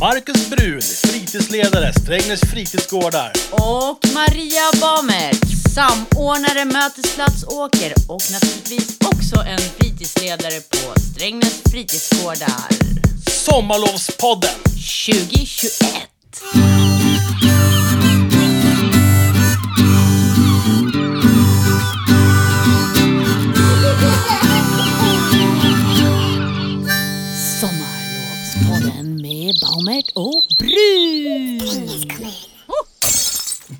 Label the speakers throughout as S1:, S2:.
S1: Marcus Brun, fritidsledare, Strängnäs fritidsgårdar.
S2: Och Maria Bamert, samordnare Mötesplats Åker och naturligtvis också en fritidsledare på Strängnäs fritidsgårdar.
S1: Sommarlovspodden!
S2: 2021! Sommarlovspodden med Baumert och Brun!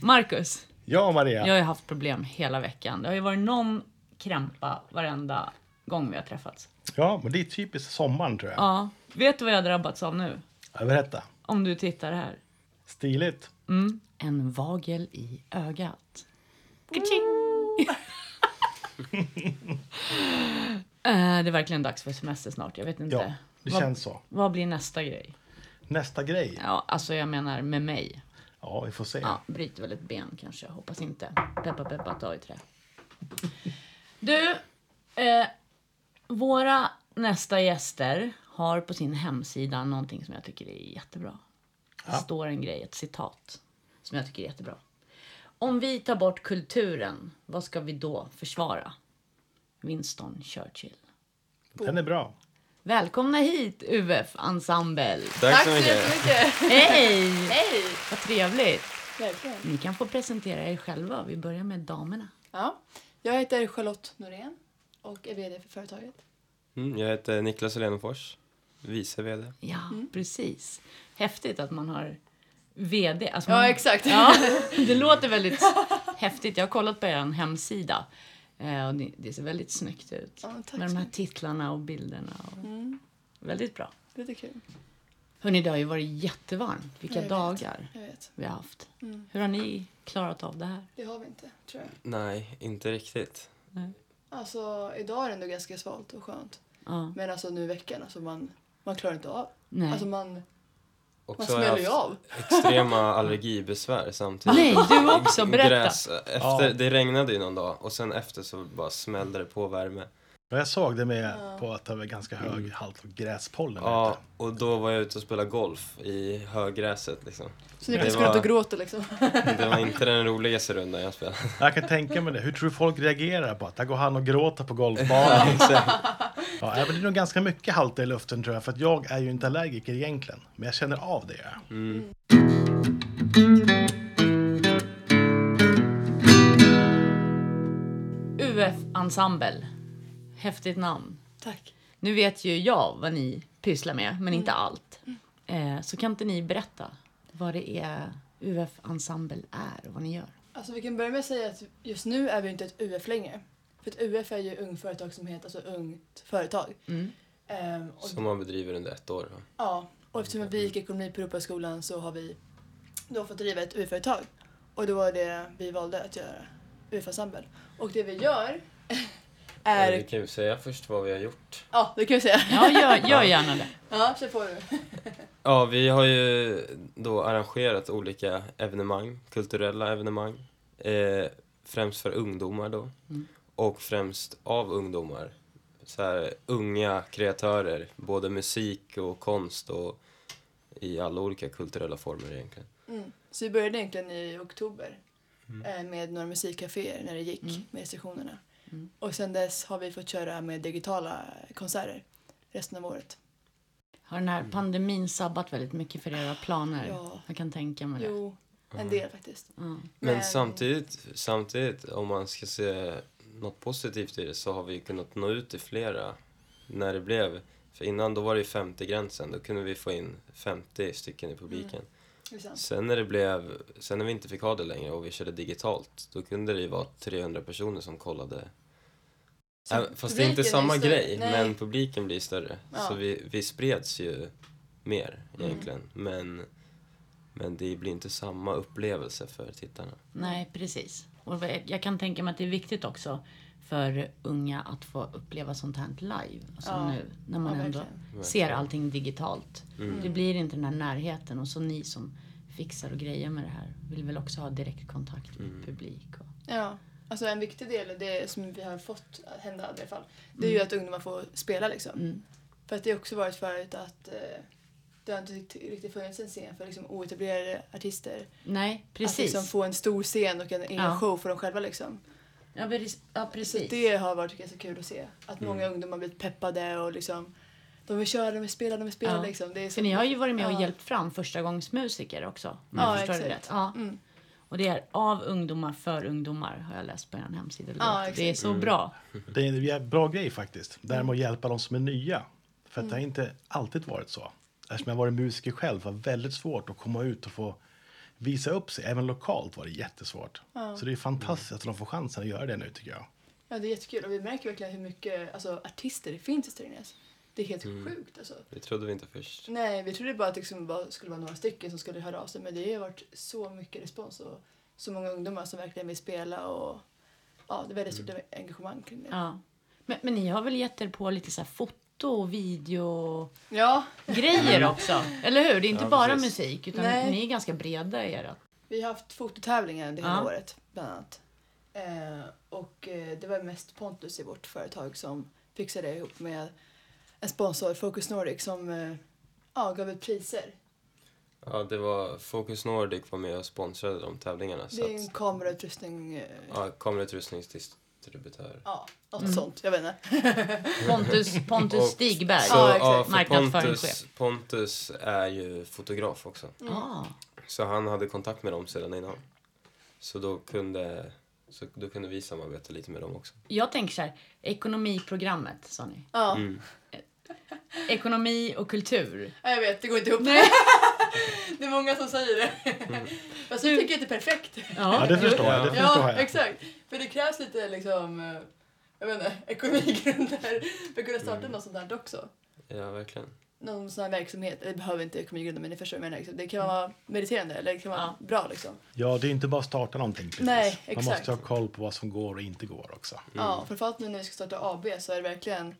S2: Marcus,
S1: Ja, Maria.
S2: jag har ju haft problem hela veckan. Det har ju varit någon krämpa varenda gång vi har träffats.
S1: Ja, men det är typiskt sommaren tror jag.
S2: Ja, vet du vad jag har drabbats av nu?
S1: Ja. Berätta.
S2: Om du tittar här.
S1: Stiligt.
S2: Mm. En vagel i ögat. Kaching! Eh, det är verkligen dags för semester snart. Jag vet inte.
S1: Ja, det
S2: vad,
S1: känns så.
S2: vad blir nästa grej?
S1: Nästa grej.
S2: Ja, alltså jag menar med mig.
S1: Ja, vi får se.
S2: Ja, bryter väl ett ben kanske. Hoppas inte. Peppa peppa, ta i trä. Du, eh, våra nästa gäster har på sin hemsida någonting som jag tycker är jättebra. Det står en grej, ett citat, som jag tycker är jättebra. Om vi tar bort kulturen, vad ska vi då försvara? Winston Churchill.
S1: Den är bra.
S2: Välkomna hit, UF Ensemble!
S3: Tack så mycket.
S2: Hej! Hej! Vad trevligt! Ni kan få presentera er själva. Vi börjar med damerna.
S4: Ja. Jag heter Charlotte Norén och är VD för företaget.
S3: Mm, jag heter Niklas Helenfors, vice VD.
S2: Ja,
S4: Mm.
S2: precis. Häftigt att man har VD. Alltså man,
S4: Ja, exakt.
S2: Ja, det låter väldigt häftigt. Jag har kollat på er hemsida. eh, Och det- det ser väldigt snyggt ut.
S4: Ja, tack
S2: med
S4: så
S2: de här
S4: mycket. Mm.
S2: titlarna och bilderna. Och... Väldigt bra.
S4: Lite kul.
S2: Hörni, det har ju varit jättevarmt. Vilka
S4: Jag vet. Mm.
S2: dagar
S4: Jag vet.
S2: vi har haft. Hur har ni klarat av det här?
S4: Det har vi inte, tror jag.
S3: Nej, inte riktigt.
S4: Alltså, idag är det ändå ganska svalt och skönt.
S2: Ja,
S4: Men alltså nu i veckan, alltså man, man klarar inte av.
S2: nej.
S4: Alltså man,
S3: Och
S4: man
S3: så har jag
S4: smäller ju
S3: haft
S4: av.
S3: extrema allergibesvär samtidigt.
S2: Nej, du också. Berätta.
S3: Gräs, efter,
S1: Ja.
S3: Det regnade ju någon dag och sen efter så bara smällde det på värme.
S1: Och jag såg det med på att det var ganska hög
S2: Mm.
S1: halt av gräspollen.
S3: Ja,
S1: ute.
S3: och då var jag ute och spelade golf i höggräset liksom.
S4: Så ni
S3: Det
S4: kan spela
S3: var-
S4: och gråta liksom.
S3: Det var inte den roligaste rundan jag spelade.
S1: Jag kan tänka mig det. Hur tror du folk reagerar på att där går han och gråter på golfbanan? ja, men det är nog ganska mycket halt i luften tror jag. För att jag är ju inte allergiker egentligen. Men jag känner av det.
S2: UF-ensemble. Häftigt namn.
S4: Tack.
S2: Nu vet ju jag vad ni pysslar med, men inte allt. Eh, så kan inte ni berätta vad det är UF-ensemble är och vad ni gör?
S4: Alltså vi kan börja med att säga att just nu är vi inte ett UF längre. För ett UF är ju ung företagsamhet, alltså ungt företag.
S2: Mm.
S4: Ehm, och
S3: Som man bedriver under ett år. va?
S4: Ja, och eftersom vi gick ekonomi på Europaskolan så har vi då fått driva ett UF-företag. Och det var det vi valde att göra, UF-ensemble. Och det vi gör
S3: Vi
S4: är...
S3: Eh, kan ju säga först vad vi har gjort.
S4: Ja, det kan vi säga.
S2: Ja, gör, gör gärna det.
S4: Ja, kör på du.
S3: Ja, vi har ju då arrangerat olika evenemang, kulturella evenemang. Eh, främst för ungdomar då. Och främst av ungdomar. Så här, unga kreatörer, både musik och konst och i alla olika kulturella former egentligen.
S4: Mm. Så vi började egentligen i oktober
S3: Mm.
S4: eh, med några musikcaféer när det gick med restriktionerna. Och sen dess har vi fått köra med digitala konserter resten av året.
S2: Har den här pandemin sabbat väldigt mycket för era planer?
S4: Ja.
S2: Jag kan tänka
S4: Mm.
S2: mig det.
S4: Jo, en del faktiskt.
S2: Ja.
S3: Mm. Men,
S4: Men-
S3: samtidigt, samtidigt, om man ska se något positivt i det så har vi kunnat nå ut till flera när det blev. För innan då var det ju 50-gränsen, då kunde vi få in 50 stycken i publiken.
S4: Det är sant.
S3: Sen när, det blev, sen när vi inte fick ha det längre och vi körde digitalt, då kunde det ju vara 300 personer som kollade.
S4: Så
S3: Äh, fast det är
S4: publiken
S3: inte
S4: är
S3: samma
S4: större.
S3: grej,
S4: Nej.
S3: men publiken blir större.
S4: Ja. Mm.
S3: Så vi, vi spreds ju mer egentligen. Men, men det blir inte samma upplevelse för tittarna.
S2: Nej, precis. Och vad- jag kan tänka mig att det är viktigt också för unga att få uppleva sånt här live. Alltså
S4: Ja.
S2: nu, när man
S4: Ja,
S2: ändå
S4: verkligen.
S2: ser allting digitalt. Det blir inte den här närheten. Och så ni som fixar och grejer med det här vill väl också ha direktkontakt med publik. Och...
S4: Ja, alltså en viktig del av det som vi har fått hända i
S2: Mm.
S4: alla fall, det är ju att ungdomar får spela liksom. För att det har också varit förut att eh, Det har inte rikt- riktigt funnits en scen för liksom oetablerade artister.
S2: Nej, precis.
S4: Att liksom få en stor scen och en egen
S2: Ja.
S4: show för dem själva. Liksom.
S2: ja, precis. Ja,
S4: Så
S2: precis. Mm.
S4: det har varit ganska kul att se. Att många ungdomar blivit peppade och liksom de vill köra, de vill spela, de vill spela.
S2: Ja.
S4: Liksom. Det är så-
S2: För ni har ju varit med
S4: Ja.
S2: och hjälpt fram förstagångsmusiker också. om
S4: Ja,
S2: jag förstår det
S4: exakt.
S2: rätt. Ja.
S4: Mm.
S2: Och det är av ungdomar för ungdomar har jag läst på er hemsida. Det
S4: Ja,
S2: låter-
S4: exakt.
S2: det är så bra.
S1: Det är en jä- bra grej faktiskt. Det här med att hjälpa de som är nya. För att det har
S4: Mm.
S1: inte alltid varit så. Eftersom jag varit musiker själv var det väldigt svårt att komma ut och få visa upp sig. Även lokalt var det jättesvårt. Så det är fantastiskt att de får chansen att göra det nu tycker jag.
S4: Ja, det är jättekul. Och vi märker verkligen hur mycket alltså, artister det finns i Strängnäs. Det är helt sjukt alltså.
S3: Det trodde vi inte först.
S4: Nej, vi trodde bara att det liksom bara skulle vara några stycken som skulle höra av sig. Men det har varit så mycket respons och så många ungdomar som verkligen vill spela. Och, ja, det är väldigt stort engagemang kring det.
S2: Mm. Ja. Men, men ni har väl gett er på lite så här foto och videogrejer
S4: Ja,
S2: också? Eller hur? Det är inte
S3: Ja,
S2: bara
S3: precis.
S2: musik, utan
S4: Nej.
S2: ni är ganska breda i ert.
S4: vi har haft fototävlingar det hela
S2: Ja.
S4: året bland annat. Eh, och eh, det var mest Pontus i vårt företag som fixade det ihop med en sponsor, Focus Nordic, som eh, ja, gav ut priser.
S3: Ja, det var Focus Nordic var med och sponsrade de tävlingarna.
S4: Det
S3: Så
S4: är en
S3: att,
S4: kamerautrustning, eh,
S3: ja, kamerautrustningsdistributör.
S4: ja, något
S2: Mm.
S4: sånt. Jag vet inte.
S2: Pontus, Pontus
S3: Och
S2: Stigberg,
S3: Så,
S4: Ja,
S3: ja,
S4: exakt.
S3: för
S2: marknadsföringschef.
S3: Pontus, Pontus är ju fotograf också.
S2: Ah.
S3: Så han hade kontakt med dem sedan innan. Så då kunde, så då kunde vi samarbeta lite med dem också.
S2: Jag tänker så här, ekonomiprogrammet sa ni.
S4: Ja,
S2: Ekonomi och kultur.
S4: ja, jag vet. Det går inte ihop.
S2: Nej.
S4: Det är många som säger det. Fast jag tycker att det är perfekt.
S1: Ja, det förstår jag. Det
S3: Ja.
S1: förstår
S4: Ja,
S1: jag.
S4: exakt. För det krävs lite liksom, eh, jag vet inte, ekonomigrunder för att kunna starta något sånt här också.
S3: Ja, verkligen.
S4: Någon sån här verksamhet, det behöver inte ekonomigrunder men ni förstår vad jag menar. Liksom. Det kan vara mediterande eller det kan vara bra liksom.
S1: Ja, det är inte bara att starta någonting. Precis.
S4: Nej,
S1: Man
S4: exakt.
S1: måste ha koll på vad som går och inte går också.
S4: Ja, framförallt nu när vi ska starta AB så är det verkligen,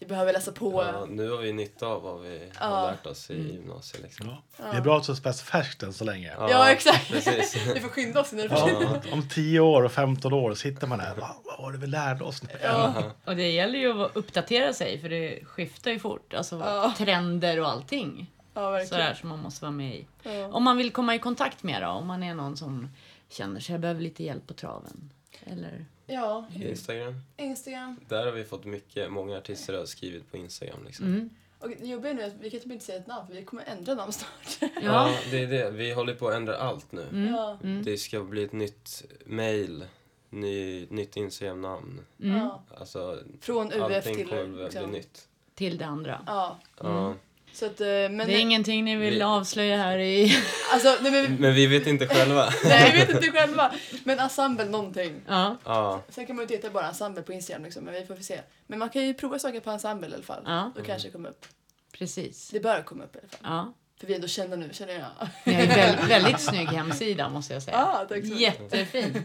S4: vi behöver läsa på.
S3: Ja, nu har vi nytta av vad vi har lärt oss i gymnasiet. Liksom.
S1: Ja. Det är bra att det är så färskt än så länge.
S4: Ja, exakt.
S3: Precis.
S4: Vi får skynda oss innan det försvinner.
S3: Ja,
S1: Om 10 år och 15 år sitter man här. "Va, Vad var det vi lärde oss nu?
S4: Ja.
S2: Och det gäller ju att vara- uppdatera sig för det skiftar ju fort. Alltså
S4: Ja.
S2: trender och allting.
S4: ja, verkligen.
S2: Sådär som man måste vara med i.
S4: Ja.
S2: Om man vill komma i kontakt med er då? Om man är någon som känner sig behöver lite hjälp på traven? Eller?
S4: Ja,
S3: Instagram.
S4: Instagram.
S3: Där har vi fått mycket, många artister har skrivit på Instagram. Liksom.
S4: Och det jobbiga nu är att vi kan typ inte säga ett namn för vi kommer ändra namn snart.
S2: Ja.
S3: Ja, det är det. Vi håller på att ändra allt nu.
S2: Mm.
S4: Ja.
S3: Det ska bli ett nytt mail, ny, nytt Instagram-namn.
S2: Mm.
S4: Ja.
S3: Alltså,
S4: Från UF
S3: allting
S4: till...
S3: kommer att bli
S4: Liksom.
S3: nytt.
S2: Till det andra.
S4: Ja,
S3: Ja.
S4: så att, eh, men,
S2: Det är ingenting ni vill
S3: Vi-
S2: avslöja här i...
S4: alltså, nej, men
S3: Men vi vet inte själva.
S4: Nej, vi vet inte själva. Men ensemble någonting.
S2: Ja.
S3: Ja,
S4: Sen kan man ju inte heta bara ensemble på Instagram liksom, men vi får se. Men man kan ju prova saker på ensemble i alla fall.
S2: Ja.
S4: Då kanske det kommer upp.
S2: Precis.
S4: Det bör komma upp i alla fall.
S2: Ja.
S4: För vi är ändå kända nu, känner jag.
S2: Ni har ju väl, väldigt snygg hemsida måste jag säga.
S4: Ja, tack så mycket.
S2: Jättefin.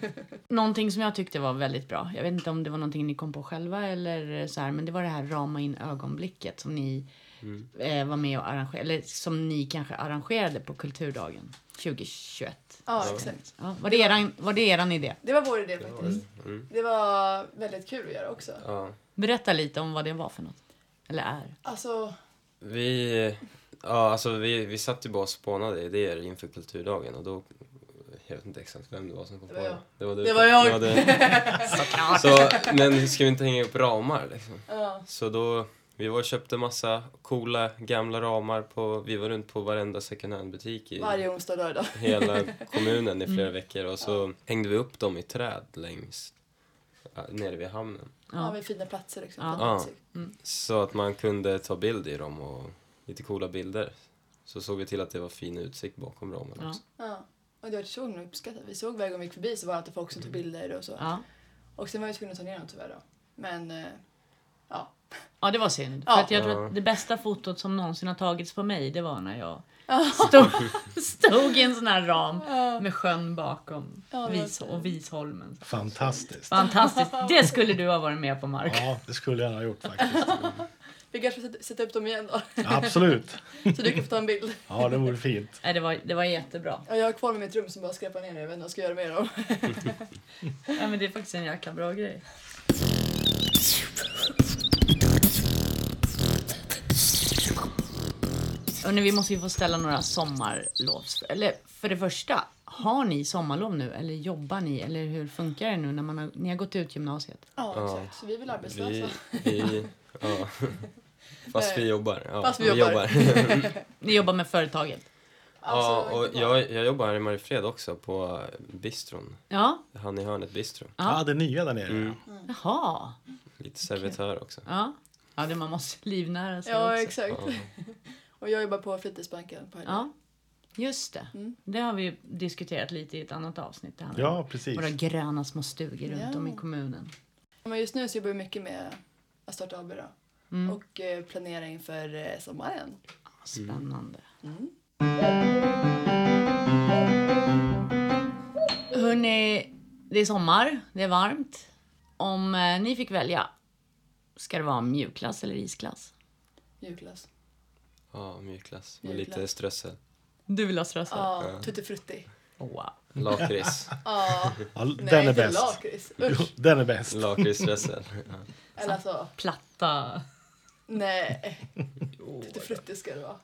S2: Någonting som jag tyckte var väldigt bra. Jag vet inte om det var någonting ni kom på själva eller så här, men det var det här rama in ögonblicket som ni eh, var med och arrangerade, eller som ni kanske arrangerade på kulturdagen 2021.
S4: Ja, exakt.
S2: Ja, var, det eran, var det eran idé?
S4: Det var vår idé faktiskt.
S3: Mm.
S4: Det var väldigt kul att göra också.
S3: ja.
S2: Berätta lite om vad det var för något. Eller är.
S4: Alltså,
S3: Vi, ja, alltså vi, vi satt ju bara och spånade idéer inför kulturdagen och då, jag vet inte exakt vem det var som kom
S4: Det
S3: på
S4: var jag.
S3: det. Det var, du.
S4: Det var jag.
S3: Ja, du.
S2: Såklart!
S3: Så, men ska vi inte hänga upp ramar liksom?
S4: ja.
S3: Så då, vi var och köpte massa coola gamla ramar på, vi var runt på varenda second hand butik i
S4: varje Mm. onsdag och lördag.
S3: hela kommunen i flera veckor och så hängde vi upp dem i träd längs, ja, nere vid hamnen.
S4: Ja, med fina platser liksom.
S2: Ja.
S4: Fina platser.
S3: Så att man kunde ta bild i dem och lite coola bilder. Så såg vi till att det var fin utsikt bakom ramen
S2: Ja.
S3: också.
S4: Ja. Och det var så himla uppskattat. Vi såg varje gång vi gick förbi så var det alltid folk som tog bilder och så.
S2: Ja.
S4: Och sen var vi tvungna att ta ner dem tyvärr då. Men, eh, ja.
S2: ja, det var synd.
S4: Ja.
S2: För att jag tror
S3: Ja.
S2: att det bästa fotot som någonsin har tagits på mig, det var när jag stod, stod i en sån här ram med sjön bakom
S4: Ja, det var
S2: Vis, och Visholmen.
S1: Fantastiskt.
S2: Fantastiskt. Det skulle du ha varit med på, Mark.
S1: Ja, det skulle jag ha gjort faktiskt.
S4: Vi kanske får sätta- sätta upp dem igen då.
S1: Absolut.
S4: Så du kan få ta en bild.
S1: Ja, det vore fint.
S2: Nej, det, var, det var jättebra.
S4: Ja, jag har kvar med mitt rum som bara skräpar ner nu. Jag vet inte vad jag ska göra med dem.
S2: Ja, men det är faktiskt en jäkla bra grej. Hörrni, vi måste ju få ställa några sommarlovs... Eller för det första, har ni sommarlov nu eller jobbar ni? Eller hur funkar det nu när man har, ni har gått ut gymnasiet?
S4: Ja,
S3: Ja.
S4: exakt. Så vi är väl arbetslösa.
S3: Vi, vi, ja. Fast vi jobbar. Ja,
S4: Fast vi jobbar.
S2: Ni jobbar med företaget?
S3: ja,
S4: Alltså,
S3: och
S4: inte bara-
S3: jag, jag jobbar här i Mariefred också på bistron.
S2: Ja,
S3: Han i hörnet bistro.
S1: Ja, Mm. det nya där nere. ja.
S2: jaha.
S3: Lite servitör också.
S2: Ja, ja det man måste livnära sig
S4: Ja,
S2: också.
S4: exakt.
S3: Ja.
S4: Och jag jobbar på fritidsbanken på helgerna.
S2: Ja, just det. Det har vi ju diskuterat lite i ett annat avsnitt. Det handlar om
S1: Ja, precis.
S2: Våra gröna små stugor runt om i
S4: Ja.
S2: kommunen.
S4: Men just nu så jobbar vi mycket med att starta AB då. Och eh, planera inför eh, sommaren.
S2: Spännande. Hörni, det är sommar, det är varmt. Om eh, ni fick välja, ska det vara mjukglass eller isglass?
S4: Julklass.
S3: Ja, mjukglass med
S4: Mjukglass.
S3: lite strössel.
S2: Du vill ha strössel?
S4: Ja, tutti frutti.
S2: Wow.
S3: Lakrits.
S4: Ja,
S1: Ja,
S4: nej,
S1: den är
S4: inte
S1: bäst.
S4: lakrits.
S1: Jo,
S4: Usch.
S1: Den är bäst.
S3: Lakritsströssel. Ja.
S4: Eller alltså,
S2: Platta.
S4: nej. Tutti frutti ska det vara.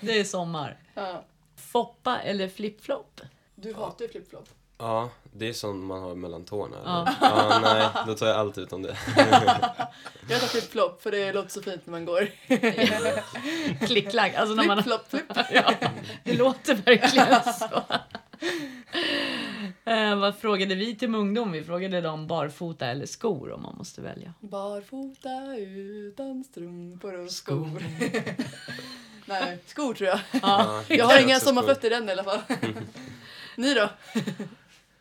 S2: Det är sommar.
S4: Ja.
S2: Foppa eller flipflop?
S4: Du hatar ju flipflop.
S3: ja, det är sånt man har mellan tårna. eller? ja, nej, då tar jag allt utom det.
S4: Jag tar flip-flop för det låter så fint när man går.
S2: Klick-klack. Alltså när man...
S4: Flip-flop, flip.
S2: ja, det låter verkligen så. Eh, vad frågade vi till med ungdom? Vi frågade dem barfota eller skor om man måste välja.
S4: Barfota utan strumpor och skor. Nej, skor tror jag. Jag har
S3: tror
S4: inga
S3: också skor.
S4: sommarfötter än i alla fall. Ni då?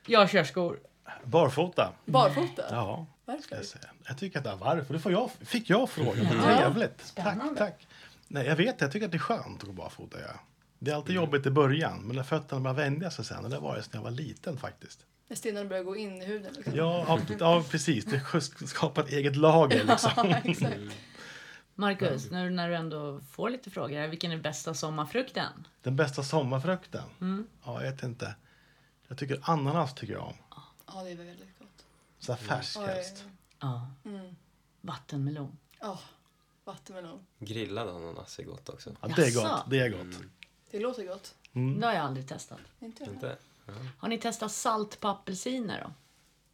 S2: Jag kör skor.
S1: Barfota.
S4: Barfota?
S1: Ja, ska
S4: Varför?
S1: jag säga. Jag tycker att det är varför. Det får jag, fick jag frågan. Vad Trevligt. Tack, tack. Nej, jag vet Jag tycker att det är skönt att gå barfota. Ja. Det är alltid jobbigt i början, men när fötterna börjar vänja sig sen. Och det var det sen jag var liten faktiskt.
S4: När stenarna börjar gå in i huden. Liksom.
S1: Ja, ja, ja precis. Det skapar ett eget lager liksom.
S4: Ja, exakt.
S2: Marcus, nu när du ändå får lite frågor här, vilken är bästa sommarfrukten?
S1: Den bästa sommarfrukten?
S4: Mm.
S1: Ja, jag vet inte. Jag tycker ananas tycker jag om.
S4: Ja, det är väldigt gott.
S1: Så här färsk
S4: Mm. Oj.
S1: helst.
S2: Ja. Vattenmelon.
S4: Ja, vattenmelon.
S3: Grillad ananas är gott också.
S1: Ja, det är
S2: Jaså?
S1: gott. Det är gott.
S4: Det låter gott.
S2: Det har jag aldrig testat.
S4: Inte jag.
S3: Inte?
S2: Har ni testat salt på apelsiner då?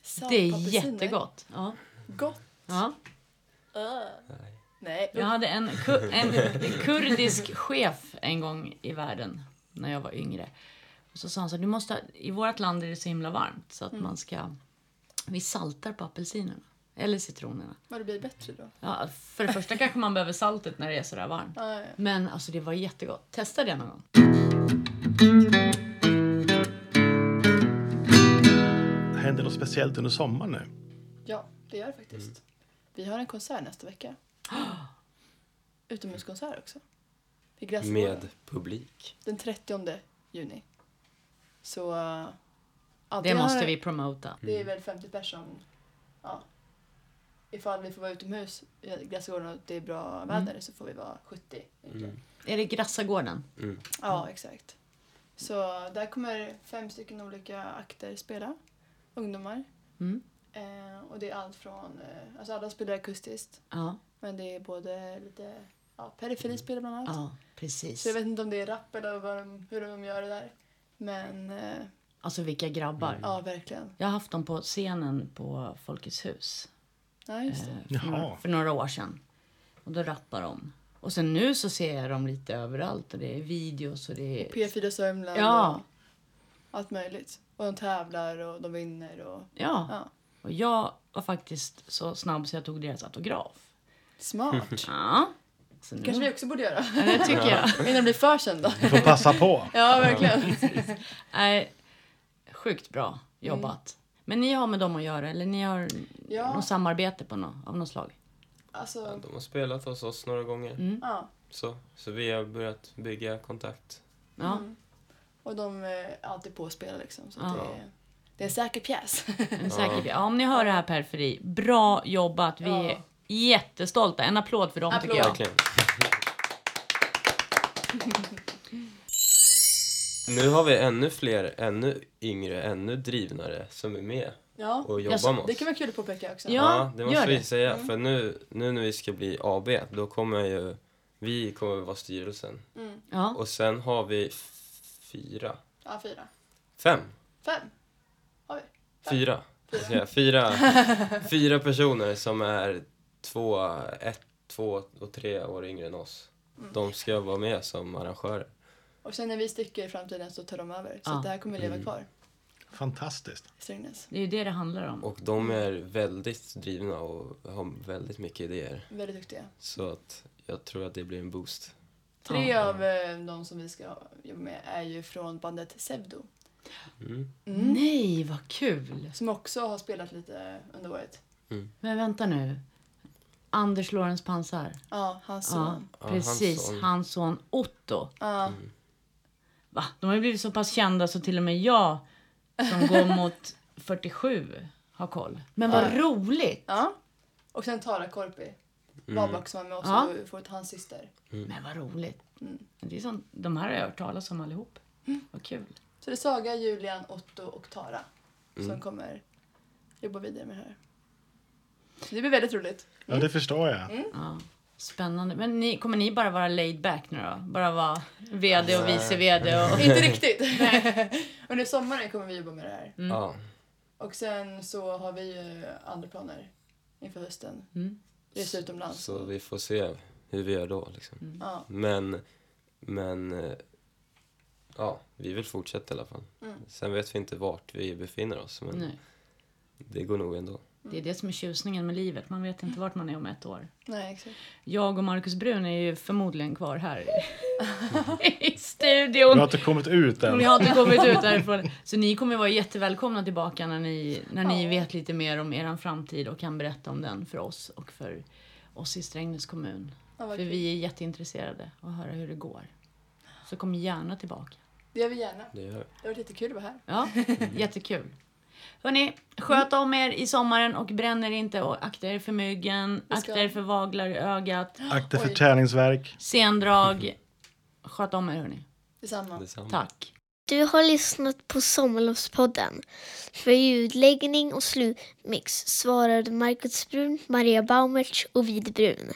S4: Salt
S2: Det
S4: på
S2: är
S4: apelsiner.
S2: jättegott. Ja.
S4: Gott?
S2: Ja.
S4: Öh.
S3: Nej.
S4: Nej.
S2: Jag hade en, ku- en kurdisk chef en gång i världen när jag var yngre. Och så sa han så här, du måste, ha- i vårt land är det så himla varmt så att man ska, vi saltar på apelsinerna. Eller citronerna.
S4: Men det blir bättre då.
S2: Ja, för det första kanske man behöver saltet när det är sådär varmt.
S4: Ja, ja.
S2: Men alltså det var jättegott. Testa det någon gång.
S1: Händer något speciellt under sommaren nu?
S4: Ja, det gör det faktiskt. Vi har en konsert nästa vecka. Utomhuskonsert också. I Gräsgården.
S3: Med publik.
S4: Den 30 juni. Så... eh, ja,
S2: Det
S4: har-
S2: måste vi promota.
S4: Det är väl 50 personer. Ja. Ifall vi får vara utomhus i Gräsgården och det är bra väder så får vi vara 70. egentligen.
S2: Är det Grassagården?
S4: Ja, exakt. Så där kommer fem stycken olika akter spela. Ungdomar.
S2: Mm.
S4: Eh, och det är allt från... Eh, alltså alla spelar akustiskt.
S2: Ja,
S4: Men det är både lite... Ja, periferi spelar bland annat.
S2: ja
S4: Så jag
S2: precis.
S4: vet inte om det är rap eller vad de, hur de gör det där. Men eh,
S2: Alltså vilka grabbar.
S4: ja, verkligen.
S2: Jag har haft dem på scenen på Folkets hus.
S4: Ja, just det.
S2: för, några,
S1: Jaha.
S2: för några år sedan. Och då rappar de. Och sen nu så ser jag dem lite överallt och det är videos och det är...
S4: P4 Sörmland
S2: Ja.
S4: och allt möjligt. Och de tävlar och de vinner och...
S2: Ja.
S4: Ja.
S2: Och jag var faktiskt så snabb så jag tog deras autograf.
S4: Smart.
S2: Ja. Så nu,
S4: Kanske vi också borde göra.
S2: Ja, det tycker jag.
S4: Innan det blir för kända.
S1: Du får passa på.
S4: Ja, verkligen.
S2: Nej, sjukt bra jobbat. Men ni har med dem att göra eller ni har
S4: Ja.
S2: något samarbete på något, av något slag?
S4: Alltså,
S3: De har spelat hos oss några gånger.
S2: Mm.
S4: ja.
S3: Så, så vi har börjat bygga kontakt.
S2: Ja.
S4: Och de är alltid på och spelar liksom. Så
S2: Ja.
S4: det, är, det är en säker pjäs.
S2: En säker ja. Om ni hör det här Periferi, bra jobbat. Vi
S4: Ja.
S2: är jättestolta. En applåd för dem tycker
S4: Applåd.
S2: jag.
S3: Verkligen. Nu har vi ännu fler, ännu yngre, ännu drivnare som är med
S4: Ja.
S3: och jobbar
S2: Jaså,
S3: med oss.
S4: Det kan vara kul att påpeka också.
S2: Ja.
S3: Ja, det måste
S2: gör
S3: vi
S2: det.
S3: säga. För nu, nu när vi ska bli AB, då kommer ju Vi kommer att vara styrelsen.
S4: Mm.
S2: Ja.
S3: Och sen har vi f- fyra,
S4: Ja, fyra.
S3: fem,
S4: Fem.
S3: fyra, vad ska jag säga? fyra, fyra personer som är två, ett, två och tre år yngre än oss. De ska vara med som arrangörer.
S4: Och sen när vi sticker i framtiden så tar de över. Så
S2: Ja.
S4: att det här kommer leva
S3: Mm.
S4: kvar
S1: Fantastiskt.
S4: i Strängnäs.
S2: Det är ju det det handlar om.
S3: Och de är väldigt drivna och har väldigt mycket idéer.
S4: Väldigt duktiga.
S3: Så att jag tror att det blir en boost.
S4: Tre
S2: Ja.
S4: av eh, de som vi ska jobba med är ju från bandet Sevdo.
S3: Mm.
S2: Nej, vad kul!
S4: Som också har spelat lite under året.
S2: Men vänta nu. Anders Lorentz Pansar.
S4: Ja, hans
S2: Ja,
S4: son.
S3: Ja,
S2: precis.
S3: hans son. Mm.
S2: Hans son Otto.
S4: Ja.
S2: Va? De har ju blivit så pass kända så till och med jag som går mot 47 har koll. Men vad roligt!
S4: ja. Och sen Tara Korpi. Babak som var med oss
S2: Ja.
S4: och fått hans syster.
S3: Mm.
S2: Men vad roligt! Det är sånt, de här har jag hört talas om allihop. Vad kul.
S4: Så det är Saga, Julian, Otto och Tara som kommer jobba vidare med det här. Så det blir väldigt roligt.
S1: Ja, det förstår jag.
S2: Ja. Spännande. Men ni, kommer ni bara vara laid back nu då? Bara vara VD och vice VD och...
S4: Inte riktigt. Under sommaren kommer vi jobba med det här.
S3: Ja.
S4: Och sen så har vi ju andra planer inför hösten.
S2: Mm.
S4: Resa utomlands.
S3: Så vi får se hur vi gör då. Liksom.
S4: Ja.
S3: Men, men eh, ja, vi vill fortsätta i alla fall. Sen vet vi inte vart vi befinner oss, men
S2: Nej.
S3: det går nog ändå.
S2: Det är det som är tjusningen med livet. Man vet inte vart man är om ett år.
S4: Nej, exakt.
S2: Jag och Markus Brun är ju förmodligen kvar här i studion.
S1: Vi har inte kommit ut
S2: Och
S1: än.
S2: Ni har inte kommit ut därifrån. Så ni kommer vara jättevälkomna tillbaka när ni, när ni
S4: Ja.
S2: vet lite mer om er framtid och kan berätta om den för oss och för oss i Strängnäs kommun.
S4: Ja,
S2: För
S4: vad kul.
S2: vi är jätteintresserade av att höra hur det går. Så kom gärna tillbaka.
S4: Det gör vi gärna.
S3: Det gör vi.
S4: Det har varit jättekul att vara här.
S2: Ja, jättekul. Hörni, sköt om er i sommaren och bränn er inte och akta er för myggen,
S4: Vi ska-
S2: akta er för vaglar i ögat,
S1: Akta för
S4: Oj.
S1: träningsverk.
S2: sendrag. Sköt om er hörni.
S4: Detsamma.
S3: Detsamma.
S2: Tack.
S5: Du har lyssnat på Sommarlovspodden. För ljudläggning och slutmix svarade Marcus Brun, Maria Baumertz och Vid Brun.